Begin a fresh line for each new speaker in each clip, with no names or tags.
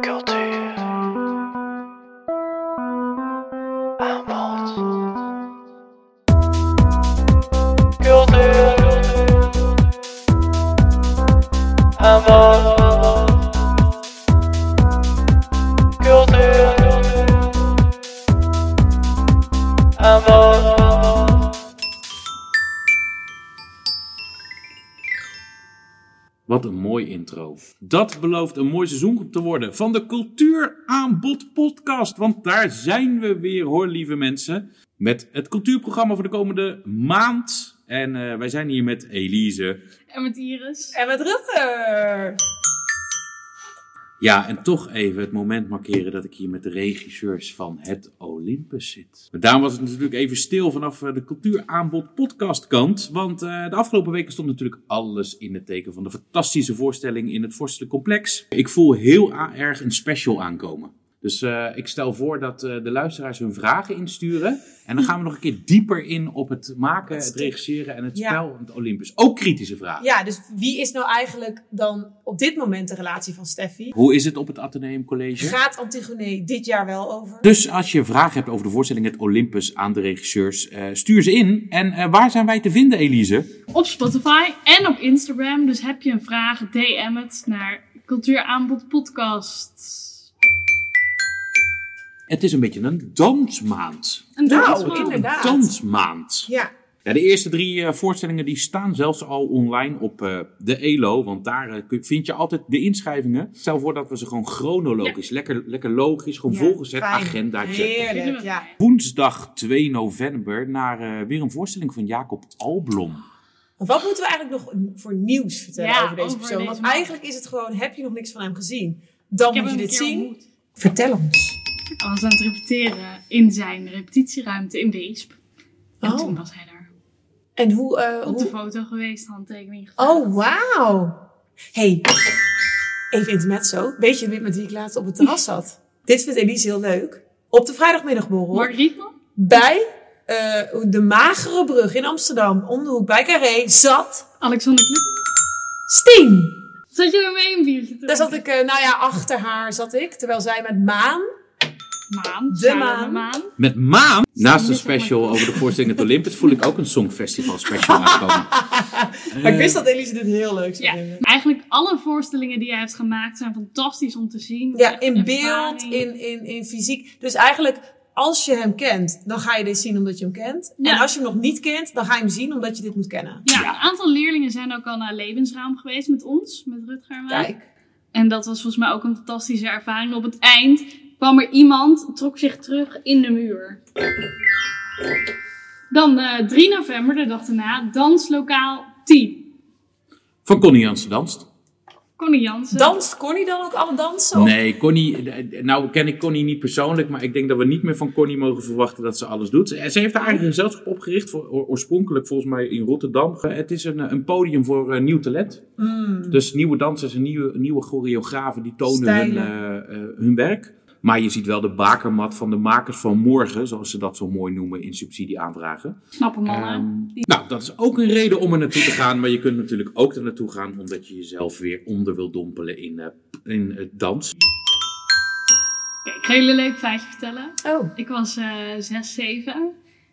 Cultuur. Aanbod. Cultuur. Aanbod. Cultuur. Aanbod.
Wat een mooi intro. Dat belooft een mooi seizoen te worden van de Cultuuraanbod podcast. Want daar zijn we weer hoor, lieve mensen. Met het cultuurprogramma voor de komende maand. En eh, wij zijn hier met Elise.
En met Iris.
En met Rutger.
Ja, en toch even het moment markeren dat ik hier met de regisseurs van het Olympus zit. Maar daarom was het natuurlijk even stil vanaf eh, de cultuuraanbod podcastkant. Want eh, de afgelopen weken stond natuurlijk alles in het teken van de fantastische voorstelling in het Vorstelijk Complex. Ik voel heel a- erg een special aankomen. Dus eh, ik stel voor dat eh, de luisteraars hun vragen insturen. En dan gaan we nog een keer dieper in op het maken, het regisseren en het
Ja.
spel van het Olympus. Ook kritische vragen.
Ja, dus wie is nou eigenlijk dan op dit moment de relatie van Steffi?
Hoe is het op het Atheneum College?
Gaat Antigone dit jaar wel over?
Dus als je vragen hebt over de voorstelling Het Olympus aan de regisseurs, eh, stuur ze in. En eh, waar zijn wij te vinden, Elise?
Op Spotify en op Instagram. Dus heb je een vraag, DM het naar Cultuuraanbod Podcast.
Het is een beetje een dansmaand.
En dat
Nou,
is wel-
inderdaad.
Een dansmaand.
Ja,
Ja, de eerste drie eh, voorstellingen die staan zelfs al online op eh, de ELO. Want daar eh, kun- vind je altijd de inschrijvingen. Stel voor dat we ze gewoon chronologisch, lekker, lekker logisch, gewoon
Ja,
volgens het
fijn.
agendaatje.
heerlijk. Ja.
Woensdag 2 november naar eh, weer een voorstelling van Jacob Alblom.
Wat moeten we eigenlijk nog voor nieuws vertellen
Ja,
over deze
over
persoon?
deze
Want
man.
eigenlijk is het gewoon, heb je nog niks van hem gezien? Dan
Ik heb
moet je
hem een
dit
keer
zien.
ontmoet.
Vertel ons.
Hij was aan het repeteren in zijn repetitieruimte in Weesp. En
Oh.
toen was hij daar.
En hoe... eh,
Op
hoe-
de foto geweest, handtekening gevraagd.
Oh, wauw. hey, even intermezzo. Weet je met wie ik laatst op het terras zat? Dit vindt Elise heel leuk. Op de vrijdagmiddagborrel.
Mark Rietman?
bij eh, de Magere Brug in Amsterdam, om de hoek bij Carré, zat
Alexander Kluck?
Steen.
Zat je ermee een biertje te
Daar zat
drinken?
ik, eh, nou ja, achter haar zat ik, terwijl zij met Maan.
Maan.
De
Sarah
Maan.
Met Maan. Naast een
Dit is
special
ook
over de voorstelling Het Olympus voel ik ook een Songfestival special aankomen.
Maar ik wist dat Elise dit heel leuk zou
Ja,
vinden.
eigenlijk alle voorstellingen die hij heeft gemaakt zijn fantastisch om te zien.
Ja, in
Echt
beeld,
ervaring.
in, in, in fysiek. Dus eigenlijk, als je hem kent, dan ga je dit zien omdat je hem kent. En
Ja.
als je hem nog niet kent, dan ga je hem zien omdat je dit moet kennen.
Ja, een aantal leerlingen zijn ook al naar Levensraam geweest met ons, met Rutger en mij.
Kijk.
En dat was volgens mij ook een fantastische ervaring. Op het eind kwam er iemand, trok zich terug in de muur. Dan eh 3 november, de dag daarna, danslokaal 10.
Van Connie Jansen danst.
Connie Jansen.
Danst Connie dan ook alle dansen? Of-
Nee, Connie. eh, Nou ken ik Connie niet persoonlijk, maar ik denk dat we niet meer van Connie mogen verwachten dat ze alles doet. Eh, Ze heeft haar eigen gezelschap opgericht, voor, oor- oorspronkelijk volgens mij in Rotterdam. Eh, Het is een, eh, een podium voor eh, nieuw talent.
Mm.
Dus nieuwe dansers en nieuwe, nieuwe choreografen die tonen hun,
Stijlen.
eh, eh, hun werk. Maar je ziet wel de bakermat van de makers van morgen, zoals ze dat zo mooi noemen in subsidieaanvragen.
Knappe mannen.
Ehm, nou, dat is ook een reden om er naartoe te gaan. Maar je kunt natuurlijk ook er naartoe gaan omdat je jezelf weer onder wil dompelen in, eh, in het dans.
Oké, ik ga jullie een leuk feitje vertellen.
Oh.
Ik was eh 6, 7.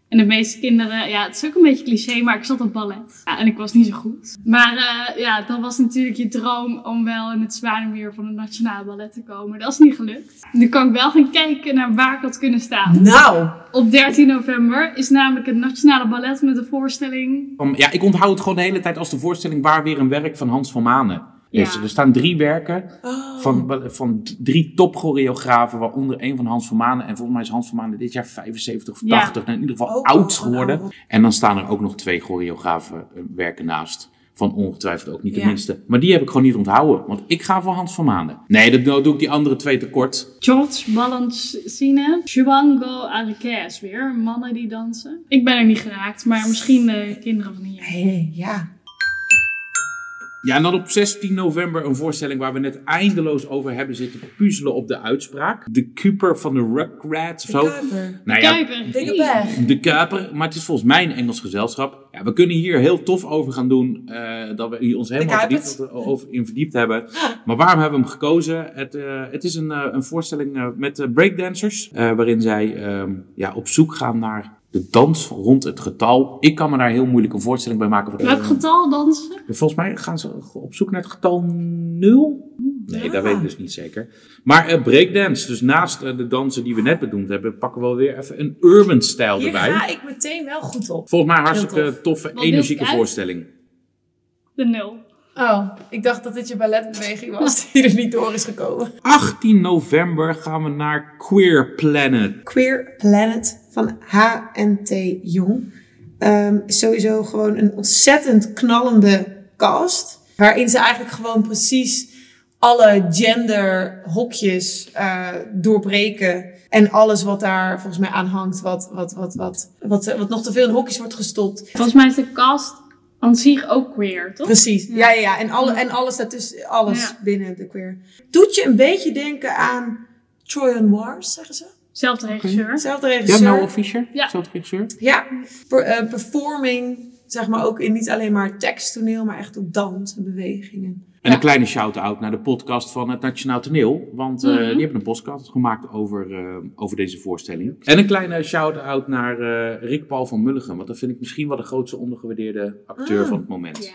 En de meeste kinderen, ja, het is ook een beetje cliché, maar ik zat op ballet. Ja, en ik was niet zo goed. Maar eh, ja, dan was natuurlijk je droom om wel in het Zwanemeer van het Nationaal Ballet te komen. Dat is niet gelukt. Nu kan ik wel gaan kijken naar waar ik had kunnen staan.
Nou,
Op 13 november is namelijk het Nationale Ballet met de voorstelling.
Om- ja, ik onthoud het gewoon de hele tijd als de voorstelling Waar weer een werk van Hans van Manen. Heeft ze. Er staan drie werken
Oh.
van, van drie topchoreografen, waaronder één van Hans van Manen. En volgens mij is Hans van Manen dit jaar 75 of
Ja.
80, nou, in ieder geval
Ook
oud
wel een
geworden.
oude.
En dan staan er ook nog twee choreografen eh, werken naast. Van ongetwijfeld ook niet de
Ja.
minste. Maar die heb ik gewoon niet onthouden, want ik ga voor Hans van Manen. Nee, dat nou doe ik die andere twee tekort.
George Balancine, Juango Arquez weer. Mannen die dansen. Ik ben er niet geraakt, maar misschien eh, kinderen van hier.
hey, ja.
Ja, en dan op 16 november een voorstelling waar we net eindeloos over hebben zitten puzzelen op de uitspraak. De Cooper van de Rugrats of zo.
Kuiper.
Nou ja,
Kuiper. hey.
Dingenberg.
de Kuiper, maar het is volgens mij een Engels gezelschap. Ja, we kunnen hier heel tof over gaan doen, eh, dat we hier ons helemaal
Kuipers.
verdiept, over, in verdiept hebben. Maar waarom hebben we hem gekozen? Het, eh, het is een, eh, een voorstelling eh, met eh, breakdancers, eh, waarin zij ehm, ja, op zoek gaan naar de dans rond het getal. Ik kan me daar heel moeilijk een voorstelling bij maken. Eh,
Welk getal dansen?
Volgens mij gaan ze op zoek naar het getal 0. Nee,
Ja.
dat weet ik dus niet zeker. Maar eh, breakdance, dus naast eh, de dansen die we net benoemd hebben, pakken we wel weer even een urban stijl
Hier
erbij.
ga ik meteen wel goed op.
Volgens mij hartstikke
Heel tof.
toffe,
wil
energieke
ik uit?
voorstelling.
De nul.
Oh, ik dacht dat dit je balletbeweging was die er niet door is gekomen.
18 november gaan we naar Queer Planet.
Queer Planet van HNT Jong. Ehm, is sowieso gewoon een ontzettend knallende cast. Waarin ze eigenlijk gewoon precies alle genderhokjes eh, doorbreken. En alles wat daar volgens mij aan hangt, wat, wat, wat, wat, wat, eh, wat nog te veel in hokjes wordt gestopt.
Volgens mij is de cast aan zich ook queer, toch?
Precies, ja, ja, ja. En, alle, en alles daartussen, alles
Ja.
binnen de queer. Doet je een beetje denken aan Trojan Wars, zeggen ze?
Zelfde regisseur.
Zelfde
Ja,
regisseur.
Noah Fisher,
Ja.
is dat de regisseur?
Ja, per- eh, performing, zeg maar ook in niet alleen maar teksttoneel, maar echt ook dans en bewegingen.
En een kleine shout-out naar de podcast van het Nationaal Toneel. Want eh, die hebben een podcast gemaakt over, eh, over deze voorstelling. En een kleine shout-out naar eh, Rick Paul van Mulligen. Want dat vind ik misschien wel de grootste ondergewaardeerde acteur
Ah.
van het moment.
Ja.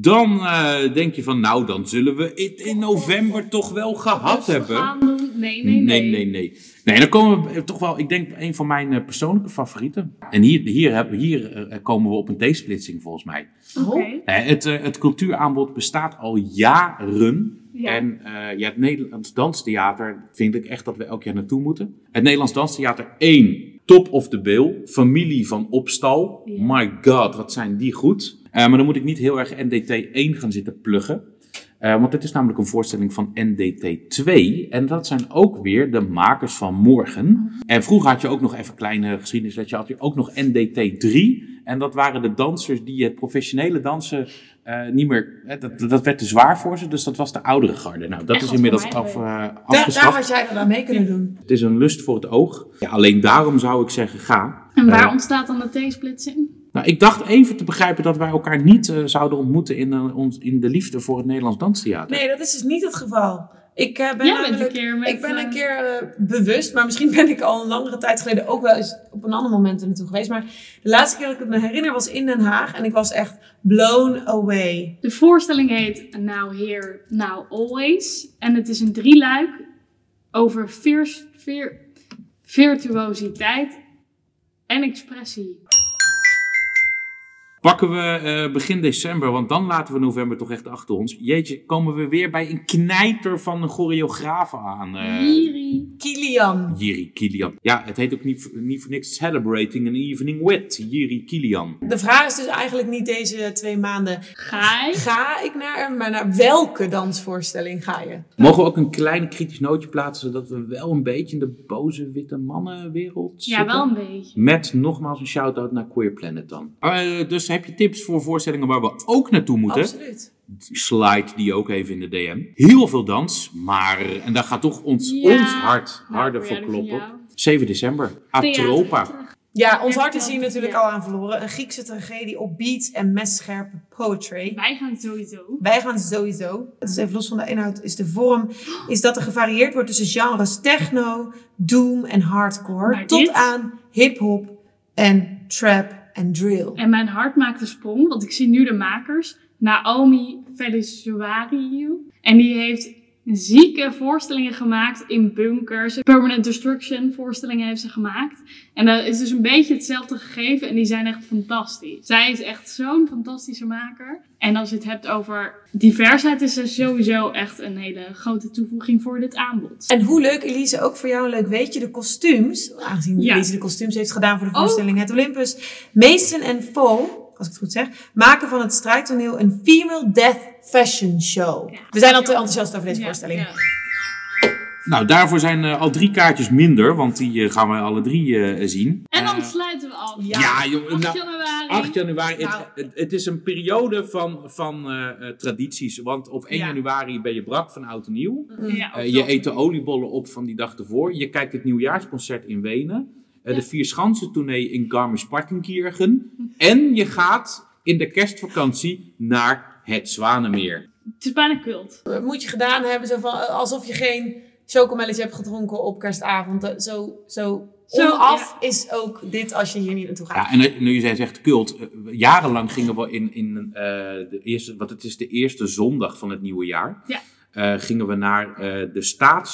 Dan eh, denk je van, nou dan zullen we het in november toch wel gehad
Dus we
hebben.
gaan doen- Nee, nee, nee.
nee, nee. Nee, dan komen we eh, toch wel, ik denk, een van mijn eh, persoonlijke favorieten. En hier, hier, hebben- hier eh, komen we op een T-splitsing volgens mij.
Oké.
Oh.
Eh, het, eh, het cultuuraanbod bestaat al jaren.
Ja.
En eh, ja, het Nederlands Danstheater vind ik echt dat we elk jaar naartoe moeten. Het Nederlands Danstheater 1, top of the bill, familie van Opstal.
Ja.
My god, wat zijn die goed. Eh, maar dan moet ik niet heel erg NDT 1 gaan zitten pluggen. Eh, want het is namelijk een voorstelling van NDT 2. En dat zijn ook weer de makers van morgen. En vroeger had je ook nog even kleine geschiedenislessen. Had je ook nog NDT 3. En dat waren de dansers die het professionele dansen eh, niet meer... hè, dat, dat werd te zwaar voor ze. Dus dat was de oudere garde. Nou, dat
Echt
is
wat
inmiddels
voor mij
af,
leuk.
eh,
Daar, daar
afgeschaft.
had jij dan aan mee kunnen doen.
Het is een lust voor het oog. Ja, alleen daarom zou ik zeggen, ga.
En waar
Eh,
ontstaat dan de T-splitsing?
nou, ik dacht even te begrijpen dat wij elkaar niet eh, zouden ontmoeten... In, eh, ons, in de liefde voor het Nederlands Danstheater.
Nee, dat is dus niet het geval. Ik eh, ben
Jij bent
namelijk-
een keer met,
ik ben een
eh,
keer eh, bewust, maar misschien ben ik al een langere tijd geleden ook wel eens op een ander moment er naartoe geweest. Maar de laatste keer dat ik het me herinner was in Den Haag en ik was echt blown away.
De voorstelling heet Now Here, Now Always. En het is een drieluik over viers- vir- virtuositeit en expressie.
Pakken we eh, begin december, want dan laten we november toch echt achter ons. Jeetje, komen we weer bij een knijter van een choreograaf aan. eh
Jiri.
Kilian.
Jiri Kilian. Ja, het heet ook niet, voor- niet voor niks Celebrating an Evening with Jiri Kilian.
De vraag is dus eigenlijk niet deze twee maanden.
Gaai.
Ga ik naar hem, maar naar welke dansvoorstelling ga je?
Mogen we ook een klein kritisch nootje plaatsen dat we wel een beetje in de boze witte mannenwereld
Ja,
zitten?
wel een beetje.
Met nogmaals een shout-out naar Queer Planet dan. Eh, dus heb je tips voor voorstellingen waar we ook naartoe moeten?
Absoluut.
slide die ook even in de DM. Heel veel dans, maar, en daar gaat toch ons,
Ja.
ons hart
Nou,
harder voor
verjaardag van jou.
kloppen. 7 december, Atropa.
Ja, ons
Ja,
hart is
vertel.
hier natuurlijk
Ja.
al aan verloren. Een Griekse tragedie op beat en messcherpe poetry.
Wij gaan sowieso.
Wij gaan sowieso, het is even los van de inhoud, is de vorm, is dat er gevarieerd wordt tussen genres techno, doom en hardcore.
Maar
tot
dit?
aan hip-hop en trap en drill.
En mijn hart maakt een sprong, want ik zie nu de makers. Naomi Felisuariu. En die heeft zieke voorstellingen gemaakt in bunkers. Permanent Destruction voorstellingen heeft ze gemaakt. En dat is dus een beetje hetzelfde gegeven. En die zijn echt fantastisch. Zij is echt zo'n fantastische maker. En als je het hebt over diversheid, is ze sowieso echt een hele grote toevoeging voor dit aanbod.
En hoe leuk, Elise, ook voor jou een leuk weetje, de kostuums. Aangezien
Ja.
Elise de kostuums heeft gedaan voor de
Oh.
voorstelling Het Olympus. Meesten en Paul, als ik het goed zeg, maken van het strijdtoneel een female death fashion show.
Ja.
We zijn al te enthousiast over deze
Ja,
voorstelling.
ja.
Nou, daarvoor zijn eh, al drie kaartjes minder, want die eh, gaan we alle drie eh, zien.
En En dan sluiten we af.
Ja.
Ja, jongen.
8
nou,
januari.
8 januari,
Nou.
het, het, het is een periode van, van eh, eh, tradities. Want op 1
Ja.
januari ben je brak van oud en nieuw.
Ja,
Eh, je eet de oliebollen op van die dag ervoor. Je kijkt het nieuwjaarsconcert in Wenen. Eh, De
Ja.
Vier Schansen tournee in Garmisch-Partenkirchen. En je gaat in de kerstvakantie naar het Zwanenmeer.
Het is bijna kult.
Moet je gedaan hebben, zo van, eh, alsof je geen chocomelletje hebt gedronken op kerstavond. Eh, Zo, zo,
Zo,
onaf is ook dit als je hier niet naartoe gaat.
Ja, en eh, nu je zei- zegt cult, eh, jarenlang gingen we in, in eh, de eerste, want het is de eerste zondag van het nieuwe jaar,
Ja.
eh, gingen we naar eh, de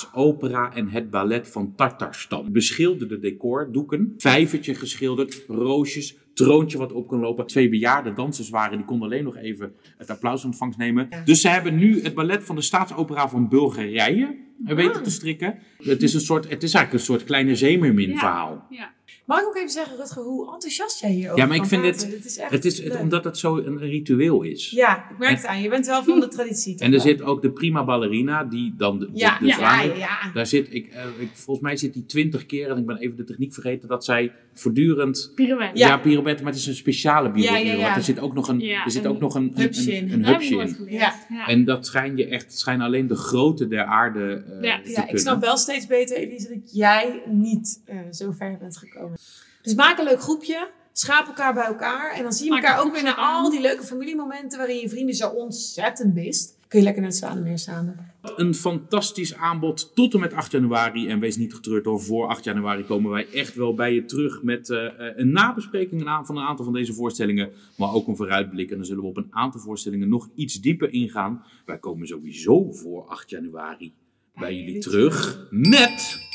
staatsopera en het ballet van Tartarstan. Beschilderde decor, doeken, vijvertje geschilderd, roosjes, troontje wat op kon lopen. Twee bejaarde dansers waren, die konden alleen nog even het applausontvangst nemen.
Ja.
Dus ze hebben nu het ballet van de staatsopera van Bulgarije eh, weten
Ah.
te strikken. Het is, een soort, het is eigenlijk een soort kleine zeemermin
Ja.
verhaal.
Ja.
Mag ik ook even zeggen, Rutger, hoe enthousiast jij hierover
Ja, maar ik
kan
vind
praten?
dit-
Het is echt
Het is het,
leuk.
omdat het zo een ritueel is.
Ja, ik merk het aan. Je bent wel van de traditie. toch
En er
wel?
zit ook de prima ballerina, die dan de, de,
Ja,
de
ja, ja,
zwaan-
ja.
Daar zit, ik, eh, ik, volgens mij zit die twintig keer, en ik ben even de techniek vergeten, dat zij voortdurend...
Pirouette.
Ja,
Ja.
pirouette, maar het is een speciale pirouette.
Ja, ja, ja.
Want er zit ook nog een,
Ja,
er zit
een
ook nog een, een, een,
hupsje in.
een
Daar heb ik
hupsje
nooit
in.
geleerd.
Ja.
Ja.
En dat schijn je echt, schijnen alleen de grote der aarde eh,
Ja,
te
Ja, ik
kunnen.
snap wel steeds beter, Elise, dat jij niet eh, zo ver bent gekomen. Dus maak een leuk groepje. Schaap elkaar bij elkaar. En dan zie je
Maak
elkaar
een
ook weer naar
groepje aan.
al die leuke familiemomenten waarin je vrienden zo ontzettend mist. Kun je lekker naar het Zwanenmeer samen.
Een fantastisch aanbod tot en met 8 januari. En wees niet getreurd hoor, voor 8 januari komen wij echt wel bij je terug met eh, eh, een nabespreking na- van een aantal van deze voorstellingen. Maar ook een vooruitblik. En dan zullen we op een aantal voorstellingen nog iets dieper ingaan. Wij komen sowieso voor 8 januari bij jullie terug met...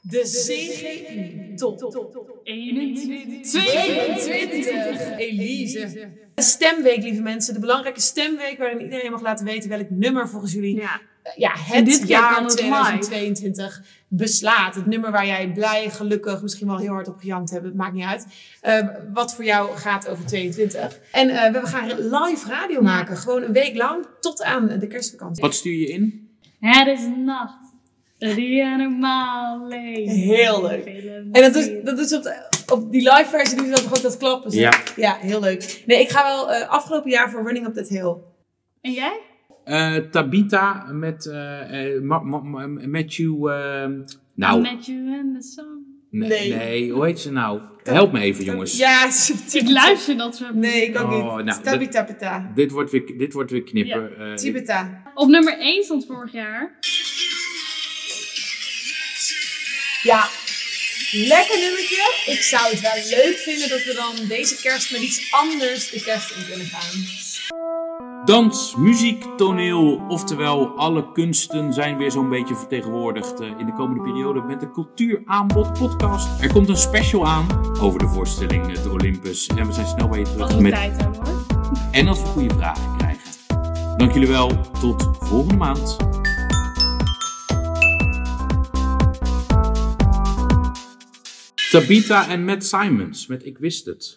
De CGU Top
21.
22. Elise. De stemweek, lieve mensen. De belangrijke stemweek waarin iedereen mag laten weten welk nummer volgens jullie
Ja.
ja,
En
het
dit keer kan
jaar
het
2022 beslaat. Het nummer waar jij blij, gelukkig, misschien wel heel hard op gejankt hebt. Het maakt niet uit. Eh, wat voor jou gaat over 22. En eh, we gaan live radio maken. Gewoon een week lang tot aan de kerstvakantie.
Wat stuur je in?
Het is nacht. Die normaal leeft.
Heel leuk. En dat is, dat is op, de- op die live versie doen ze dan toch ook dat klappen. zo?
Ja.
ja, heel leuk. Nee, ik ga wel eh, afgelopen jaar voor Running Up That Hill.
En jij?
Eh, Tabita met eh, eh, Ma- Ma- Ma- Matthew... eh, nou,
I met you in the sun.
nee,
Nee.
nee, hoe heet ze nou? Help me even jongens.
Ja,
Ik luister dat zo.
Nee, ik ook
Oh,
niet.
nou,
Tabi tapita.
Dit wordt weer, dit wordt weer knippen. Eh, dit-
Tibeta.
Op nummer 1 stond vorig jaar.
Ja, lekker nummertje. Ik zou het wel leuk vinden dat we dan deze kerst met iets anders de kerst in kunnen gaan.
Dans, muziek, toneel, oftewel alle kunsten zijn weer zo'n beetje vertegenwoordigd eh, in de komende periode met de Cultuuraanbod podcast. Er komt een special aan over de voorstelling Het Olympus en we zijn snel bij je
Als
terug
we
met
tijd hebben hoor.
en als we goede vragen krijgen. Dank jullie wel, tot volgende maand. Tabita en Matt Simons met Ik Wist Het.